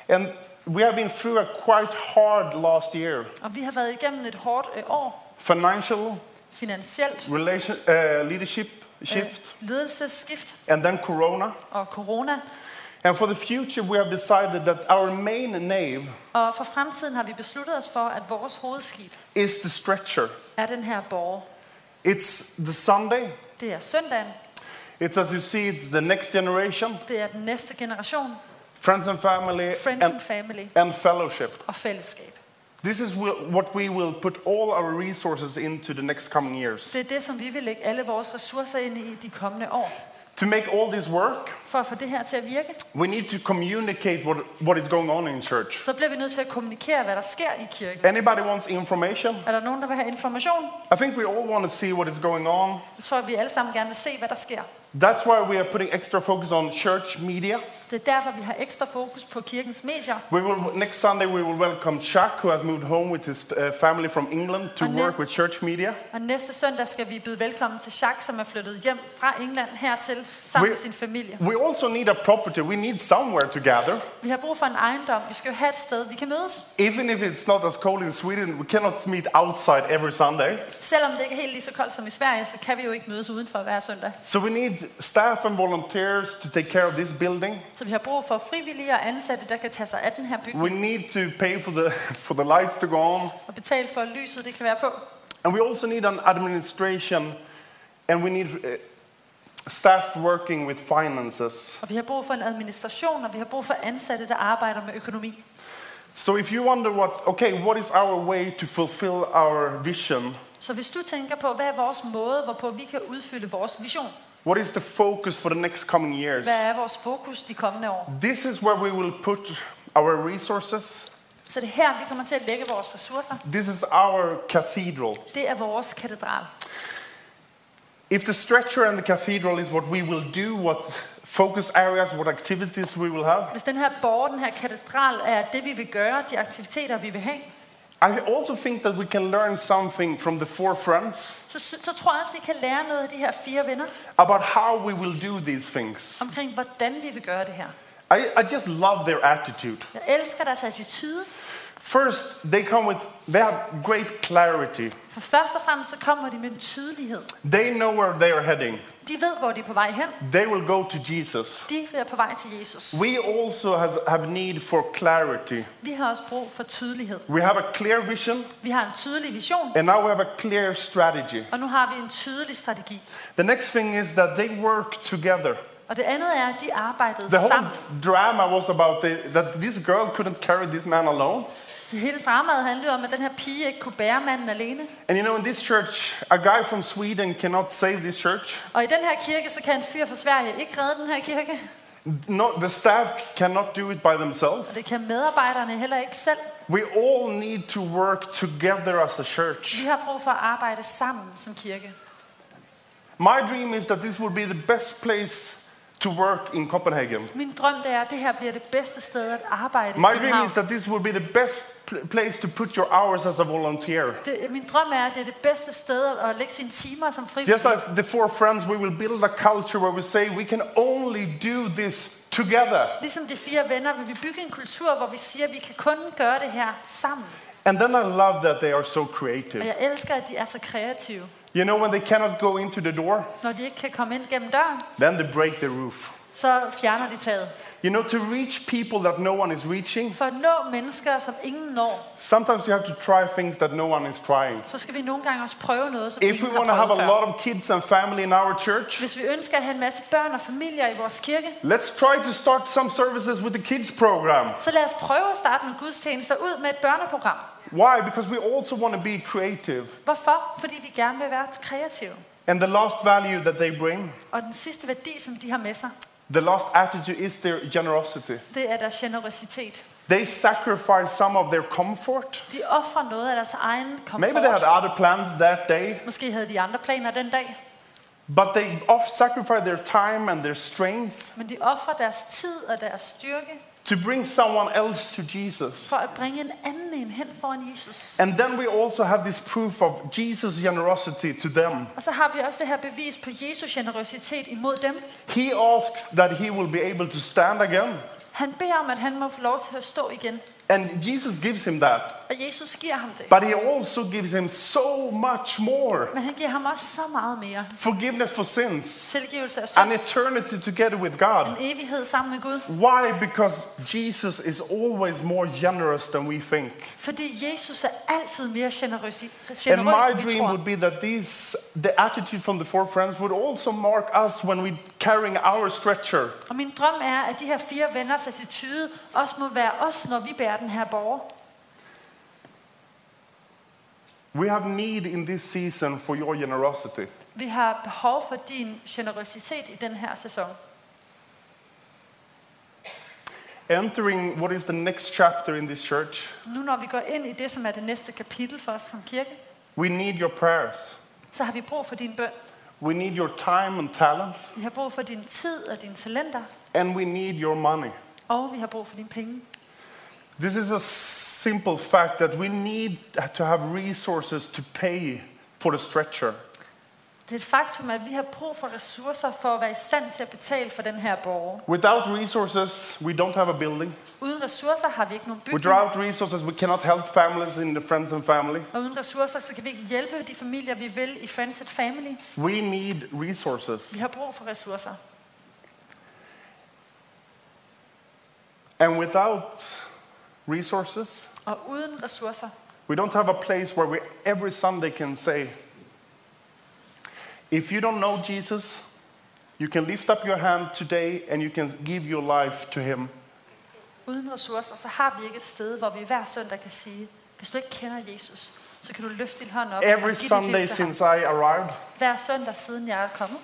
Speaker 1: And we have been through a quite hard last year
Speaker 2: Og vi har været igennem et hårdt øh, år.
Speaker 1: financial,
Speaker 2: finansielt, Øh,
Speaker 1: relation, uh, leadership shift,
Speaker 2: ledelsesskift
Speaker 1: and then Corona.
Speaker 2: og corona.
Speaker 1: And for the future, we have decided that our main nave
Speaker 2: Og for fremtiden har vi besluttet os for, at vores hovedskib
Speaker 1: is the stretcher.
Speaker 2: er den her borg.
Speaker 1: It's the Sunday.
Speaker 2: Det er søndagen,
Speaker 1: It's as you see, it's the next generation,
Speaker 2: det er den næste generation,
Speaker 1: friends and family,
Speaker 2: friends and
Speaker 1: and,
Speaker 2: family
Speaker 1: and fellowship.
Speaker 2: og fællesskab.
Speaker 1: This is wh- what we will put all our resources into the next coming years.
Speaker 2: Det er det, som vi vil lægge alle vores ressourcer ind i de kommende år.
Speaker 1: To make all this work,
Speaker 2: For at få det her til at virke,
Speaker 1: we need to communicate what, what is going on in church.
Speaker 2: så bliver vi nødt til at kommunikere, hvad der sker i kirken.
Speaker 1: Anybody wants information?
Speaker 2: Er der nogen, der vil have information?
Speaker 1: I think we all want to see what is going on.
Speaker 2: Jeg tror, at vi alle sammen gerne vil se, hvad der sker.
Speaker 1: That's why we are putting extra focus on church media.
Speaker 2: Det er derfor, vi har ekstra fokus på kirkens medier.
Speaker 1: We will, next Sunday, we will welcome Chuck, who has moved home with his uh, family from England to
Speaker 2: And
Speaker 1: work
Speaker 2: then-
Speaker 1: with church media.
Speaker 2: Og næste søndag skal vi byde velkommen til Jacques, som er flyttet hjem fra England hertil sammen
Speaker 1: We-
Speaker 2: med sin familie.
Speaker 1: We also need a property. We need somewhere to gather.
Speaker 2: Vi har brug for en ejendom. Vi skal jo have et sted, vi kan mødes.
Speaker 1: Even if it's not as cold in Sweden, we cannot meet outside every Sunday.
Speaker 2: Selvom det ikke er helt lige så koldt som i Sverige, så kan vi jo ikke mødes udenfor hver søndag.
Speaker 1: So we need staff and volunteers to take care of this building.
Speaker 2: Så vi har brug for frivillige og ansatte, der kan tage sig af den her bygning
Speaker 1: We need to pay for the, for the lights to go on.
Speaker 2: og betale for, at lyset det kan være på.
Speaker 1: And we also need an administration and we need uh, staff working with finances.
Speaker 2: Og vi har brug for en administration, og vi har brug for ansatte, der arbejder med økonomi.
Speaker 1: So if you wonder what, okay, what is our way to fulfill our vision?
Speaker 2: Så hvis du tænker på, hvad er vores måde, hvorpå vi kan udfylde vores vision?
Speaker 1: What is the focus for the next coming years?
Speaker 2: Hvad er vores fokus de kommende år?
Speaker 1: This is where we will put our resources.
Speaker 2: Så det er her, vi kommer til at lægge vores ressourcer.
Speaker 1: This is our cathedral.
Speaker 2: Det er vores katedral.
Speaker 1: If the stretcher and the cathedral is what we will do, what focus areas, what activities we will have,
Speaker 2: Hvis den her borg, den her katedral, er det, vi vil gøre, de aktiviteter, vi vil have,
Speaker 1: I also think that we can learn something from the four friends
Speaker 2: så, sy- så tror jeg også, vi kan lære noget af de her fire venner,
Speaker 1: about how we will do these things.
Speaker 2: omkring hvordan vi vil gøre det her.
Speaker 1: I, I just love their attitude.
Speaker 2: Jeg elsker deres attitude.
Speaker 1: First, they come with they have great clarity.
Speaker 2: For først og fremmest, så kommer de med en tydelighed.
Speaker 1: They know where they are heading.
Speaker 2: De ved, hvor de er på vej hen.
Speaker 1: They will go to Jesus.
Speaker 2: De er på vej til Jesus.
Speaker 1: We also has, have need for clarity.
Speaker 2: Vi har også brug for tydelighed.
Speaker 1: We have a clear vision
Speaker 2: Vi har en tydelig vision,
Speaker 1: and now we have a clear strategy.
Speaker 2: og nu har vi en tydelig strategi.
Speaker 1: The next thing is that they work together.
Speaker 2: Og det andet er, at de arbejdede
Speaker 1: The whole
Speaker 2: sammen.
Speaker 1: drama was about the, that this girl couldn't carry this man alone.
Speaker 2: Det hele dramaet handlede om, at den her pige ikke kunne bære manden alene.
Speaker 1: And you know, in this church, a guy from Sweden cannot save this church.
Speaker 2: Og i den her kirke, så kan en fyr fra Sverige ikke redde den her kirke.
Speaker 1: No, the staff cannot do it by themselves.
Speaker 2: Og det kan medarbejderne heller ikke selv.
Speaker 1: We all need to work together as a
Speaker 2: Vi
Speaker 1: church.
Speaker 2: har brug for at arbejde sammen som kirke.
Speaker 1: My dream is that this will be the best place to work in Copenhagen.
Speaker 2: Min drøm det er, at det her bliver det bedste sted at arbejde i
Speaker 1: My dream
Speaker 2: København.
Speaker 1: is that this will be the best pl- place to put your hours as a volunteer.
Speaker 2: Det, min drøm er, at det er det bedste sted at lægge sine timer som
Speaker 1: Just
Speaker 2: frivillig.
Speaker 1: like the four friends, we will build a culture where we say we can only do this together.
Speaker 2: Ligesom de fire venner vil vi bygge en kultur, hvor vi siger, at vi kan kun gøre det her sammen.
Speaker 1: And then I love that they are so
Speaker 2: Og
Speaker 1: creative.
Speaker 2: jeg elsker, at de er så kreative.
Speaker 1: You know, when they cannot go into the door,
Speaker 2: Når de ikke kan komme ind gennem døren,
Speaker 1: then they break the roof.
Speaker 2: så fjerner de taget.
Speaker 1: You know, to reach people that no one is reaching,
Speaker 2: For at nå mennesker, som ingen når,
Speaker 1: sometimes you have to try things that no one is trying.
Speaker 2: så skal vi nogle gange også prøve noget, som
Speaker 1: If we
Speaker 2: ingen har
Speaker 1: want to have a
Speaker 2: prøvet før.
Speaker 1: lot of kids and family in our church,
Speaker 2: Hvis vi ønsker at have en masse børn og familier i vores kirke,
Speaker 1: let's try to start some services with the kids program.
Speaker 2: så lad os prøve at starte en gudstjeneste ud med et børneprogram.
Speaker 1: Why? Because we also want to be creative.
Speaker 2: Hvorfor? Fordi vi gerne vil være kreative.
Speaker 1: And the last value that they bring,
Speaker 2: Og den sidste værdi, som de har med sig,
Speaker 1: the last attitude is their generosity.
Speaker 2: det er deres generositet.
Speaker 1: They sacrifice some of their comfort.
Speaker 2: De offrer noget af deres egen
Speaker 1: Maybe they had
Speaker 2: komfort.
Speaker 1: other plans that day,
Speaker 2: Måske havde de andre planer den dag,
Speaker 1: but they off sacrifice their time and their strength
Speaker 2: men de offrer deres tid og deres styrke
Speaker 1: to bring someone else to Jesus.
Speaker 2: for at bringe en anden en hen foran Jesus.
Speaker 1: And then we also have this proof of Jesus' generosity to them.
Speaker 2: Og så har vi også det her bevis på Jesu generøsitet imod dem.
Speaker 1: He asks that he will be able to stand again,
Speaker 2: Han beder om, at han må få lov til at stå igen.
Speaker 1: And Jesus gives him that.
Speaker 2: Og Jesus giver ham det.
Speaker 1: But he also gives him so much more
Speaker 2: Men han giver ham også så meget mere.
Speaker 1: forgiveness for sins,
Speaker 2: Tilgivelse af synd,
Speaker 1: an eternity together with God.
Speaker 2: en evighed sammen med Gud.
Speaker 1: Why? Because Jesus is always more generous than we think.
Speaker 2: Fordi Jesus er altid mere generøs, i-
Speaker 1: And
Speaker 2: generøs
Speaker 1: my
Speaker 2: end vi
Speaker 1: dream
Speaker 2: tror.
Speaker 1: would be that these, the attitude from the four friends would also mark us when we carrying our stretcher.
Speaker 2: Og min drøm er, at de her fire venners attitude også må være os, når vi bærer den her borger.
Speaker 1: We have need in this season for your generosity.
Speaker 2: Vi har behov for din generøsitet i den her sæson.
Speaker 1: Entering what is the next chapter in this church,
Speaker 2: Nu når vi går ind i det, som er det næste kapitel for os som kirke,
Speaker 1: we need your prayers.
Speaker 2: så har vi brug for din bøn.
Speaker 1: We need your time and talent,
Speaker 2: Vi har brug for din tid og dine talenter,
Speaker 1: and we need your money.
Speaker 2: og vi har brug for dine penge.
Speaker 1: This is a simple fact that we need to have resources to pay for the stretcher.
Speaker 2: Det er et faktum, at vi har brug for ressourcer for at være i stand til at betale for den her borger.
Speaker 1: Without resources, we don't have a building.
Speaker 2: Uden ressourcer har vi ikke nogen bygning,
Speaker 1: Without resources, we cannot help families in the friends and family.
Speaker 2: og uden ressourcer så kan vi ikke hjælpe de familier, vi vil i Friends and Family.
Speaker 1: We need resources.
Speaker 2: Vi har brug for ressourcer.
Speaker 1: And without resources,
Speaker 2: Og uden ressourcer,
Speaker 1: we don't have a place where we every Sunday can say, if you don't know Jesus, you can lift up your hand today and you can give your life to him.
Speaker 2: uden ressourcer, så har vi ikke et sted, hvor vi hver søndag kan sige, hvis du ikke kender Jesus, så kan du løfte din hånd op
Speaker 1: Every
Speaker 2: og give dit
Speaker 1: Sunday
Speaker 2: liv til ham.
Speaker 1: since I arrived,
Speaker 2: Hver søndag siden jeg er kommet.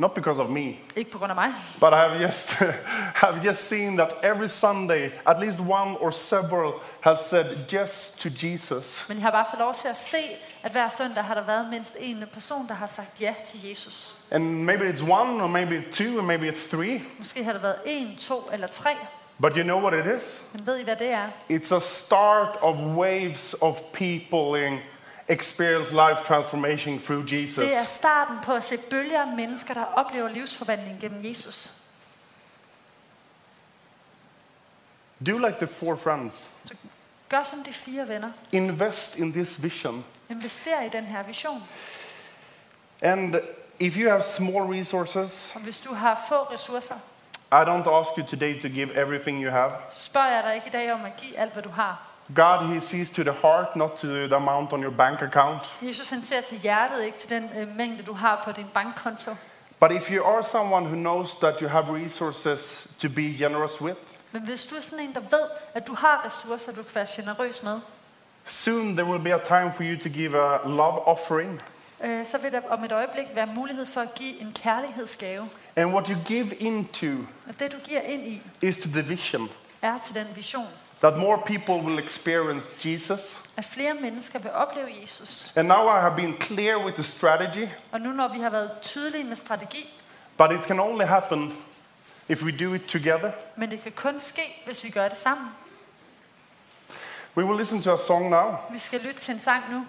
Speaker 1: not because of me,
Speaker 2: Ikke på grund af mig,
Speaker 1: But I have just, have just seen that every Sunday, at least one or several has said yes to Jesus.
Speaker 2: men jeg har bare fået lov til at se, at hver søndag har der været mindst en person, der har sagt ja til Jesus.
Speaker 1: And maybe it's one, or maybe two, or maybe it's three.
Speaker 2: Måske har der været en, to eller tre,
Speaker 1: But you know what it is?
Speaker 2: men ved I, hvad det er?
Speaker 1: It's a start of waves of people in experience life transformation through
Speaker 2: Det er
Speaker 1: Jesus.
Speaker 2: starten på at se bølger af mennesker, der oplever livsforvandling gennem Jesus.
Speaker 1: Do like the four friends.
Speaker 2: Gør som de fire venner.
Speaker 1: Invest in this vision.
Speaker 2: Invester i den her vision.
Speaker 1: And if you have small resources,
Speaker 2: Og hvis du har få ressourcer,
Speaker 1: I don't ask you today to give everything you have.
Speaker 2: så spørger jeg dig ikke i dag om at give alt, hvad du har.
Speaker 1: God, He sees to the heart, not to the amount on your bank account.
Speaker 2: Jesus han ser til hjertet, ikke til den øh, mængde, du har på din bankkonto.
Speaker 1: But if you are someone who knows that you have resources to be generous with,
Speaker 2: Men hvis du er sådan en, der ved, at du har ressourcer, du kan være generøs med,
Speaker 1: soon there will be a time for you to give a love offering.
Speaker 2: øh, så vil der om et øjeblik være mulighed for at give en kærlighedsgave.
Speaker 1: And what you give into
Speaker 2: Og det, du giver ind i,
Speaker 1: is to the vision
Speaker 2: er til den vision.
Speaker 1: that more people will experience Jesus.
Speaker 2: at flere mennesker vil opleve Jesus.
Speaker 1: And now I have been clear with the strategy,
Speaker 2: Og nu når vi har været tydelige med strategi,
Speaker 1: but it can only happen if we do it together.
Speaker 2: men det kan kun ske, hvis vi gør det sammen.
Speaker 1: We will listen to a song now.
Speaker 2: Vi skal lytte til en sang nu,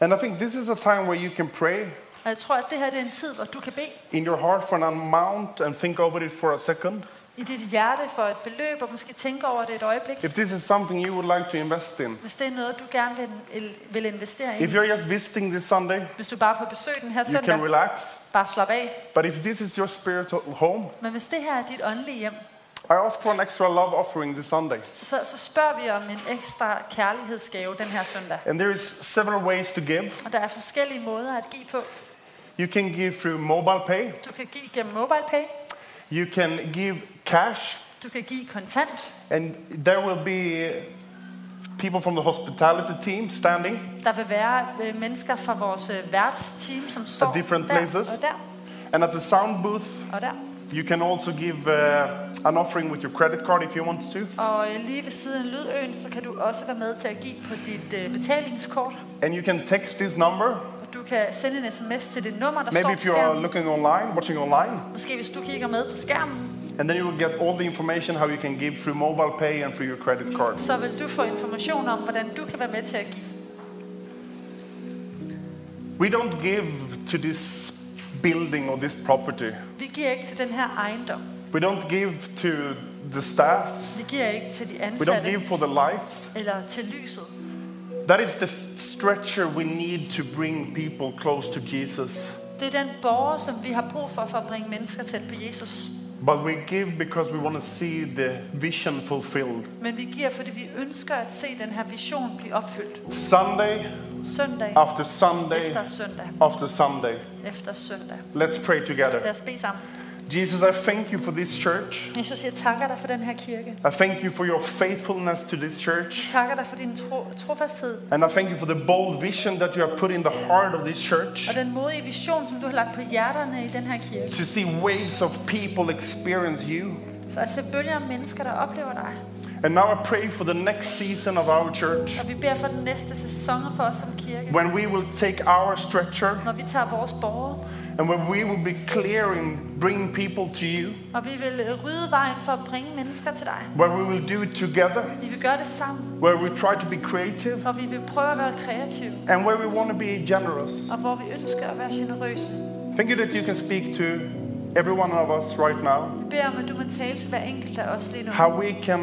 Speaker 1: And I think this is a time where you can pray
Speaker 2: og jeg tror, at det her det er en tid, hvor du kan bede
Speaker 1: in your heart for an amount and think over it for a second.
Speaker 2: i dit hjerte for et beløb, og måske tænke over det et øjeblik,
Speaker 1: If this is something you would like to invest in,
Speaker 2: hvis det er noget, du gerne vil, vil investere
Speaker 1: if
Speaker 2: i.
Speaker 1: you're just visiting this Sunday,
Speaker 2: Hvis du bare er på besøg den her
Speaker 1: you can
Speaker 2: søndag,
Speaker 1: relax.
Speaker 2: bare slap af.
Speaker 1: But if this is your spiritual home,
Speaker 2: Men hvis det her er dit åndelige hjem,
Speaker 1: I ask for an extra love offering this Sunday.
Speaker 2: så, så spørger vi om en ekstra kærlighedsgave den her søndag.
Speaker 1: And there is several ways to give.
Speaker 2: Og der er forskellige måder at give på.
Speaker 1: You can give through mobile pay,
Speaker 2: Du kan give gennem MobilePay,
Speaker 1: you can give cash,
Speaker 2: du kan give kontant,
Speaker 1: and there will be people from the hospitality team standing.
Speaker 2: Der vil være øh, mennesker fra vores øh, værtsteam, som står
Speaker 1: different
Speaker 2: der
Speaker 1: places.
Speaker 2: og der
Speaker 1: And at the sound booth,
Speaker 2: og der.
Speaker 1: you can also give uh, an offering with your credit card if you want to.
Speaker 2: Og øh, lige ved siden af Lydøen, så kan du også være med til at give på dit øh, betalingskort.
Speaker 1: And you can text this number,
Speaker 2: Og du kan sende en sms til det nummer, der
Speaker 1: maybe
Speaker 2: står på
Speaker 1: if you are
Speaker 2: skærmen.
Speaker 1: looking online, watching online.
Speaker 2: Måske hvis du kigger med på skærmen,
Speaker 1: And then you will get all the information how you can give through mobile pay and through your credit card.
Speaker 2: så vil du få information om, hvordan du kan være med til at give.
Speaker 1: We don't give to this building or this property.
Speaker 2: Vi giver ikke til den her ejendom.
Speaker 1: We We don't give to the staff.
Speaker 2: Vi giver ikke til de
Speaker 1: We don't give
Speaker 2: ansatte
Speaker 1: for the lights.
Speaker 2: eller til lyset.
Speaker 1: That is the f- stretcher we need to bring people close to Jesus.
Speaker 2: Det er den borger, som vi har brug for, for at bringe mennesker tæt på Jesus.
Speaker 1: But we give because we want to see the vision fulfilled.
Speaker 2: Men vi giver, fordi vi ønsker at se den her vision blive opfyldt.
Speaker 1: Sunday
Speaker 2: Søndag
Speaker 1: after Sunday
Speaker 2: efter søndag
Speaker 1: after Sunday.
Speaker 2: efter søndag.
Speaker 1: Let's pray
Speaker 2: Lad
Speaker 1: together.
Speaker 2: os bede sammen.
Speaker 1: Jesus, I thank you for this church.
Speaker 2: Jesus, jeg takker dig for den her kirke.
Speaker 1: I thank you for your faithfulness to this church.
Speaker 2: Jeg takker dig for din tro, trofasthed
Speaker 1: And I thank you for the bold vision that you have put in the heart of this church
Speaker 2: og den modige vision, som du har lagt på hjerterne i den her kirke.
Speaker 1: to see waves of people experience you.
Speaker 2: For at se bølger af mennesker, der oplever dig.
Speaker 1: And now I pray for the next season of our church
Speaker 2: Og vi beder for den næste sæson for os som kirke.
Speaker 1: when we will take our stretcher
Speaker 2: Når vi tager vores borgere,
Speaker 1: and when we will be clear in bringing people to you,
Speaker 2: og vi vil øh, rydde vejen for at bringe mennesker til dig.
Speaker 1: where we will do it together,
Speaker 2: Vi vil gøre det sammen,
Speaker 1: where we try to be creative,
Speaker 2: og vi vil prøve at være kreative,
Speaker 1: and where we want to be generous.
Speaker 2: og hvor vi ønsker at være generøse.
Speaker 1: Thank you that you can speak to every one of us right now,
Speaker 2: Vi beder om, at du må tale til hver enkelt af os lige nu.
Speaker 1: how we can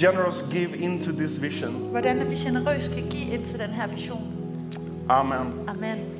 Speaker 1: generous give into this vision.
Speaker 2: Hvordan vi generøst kan give ind til den her vision.
Speaker 1: Amen.
Speaker 2: Amen.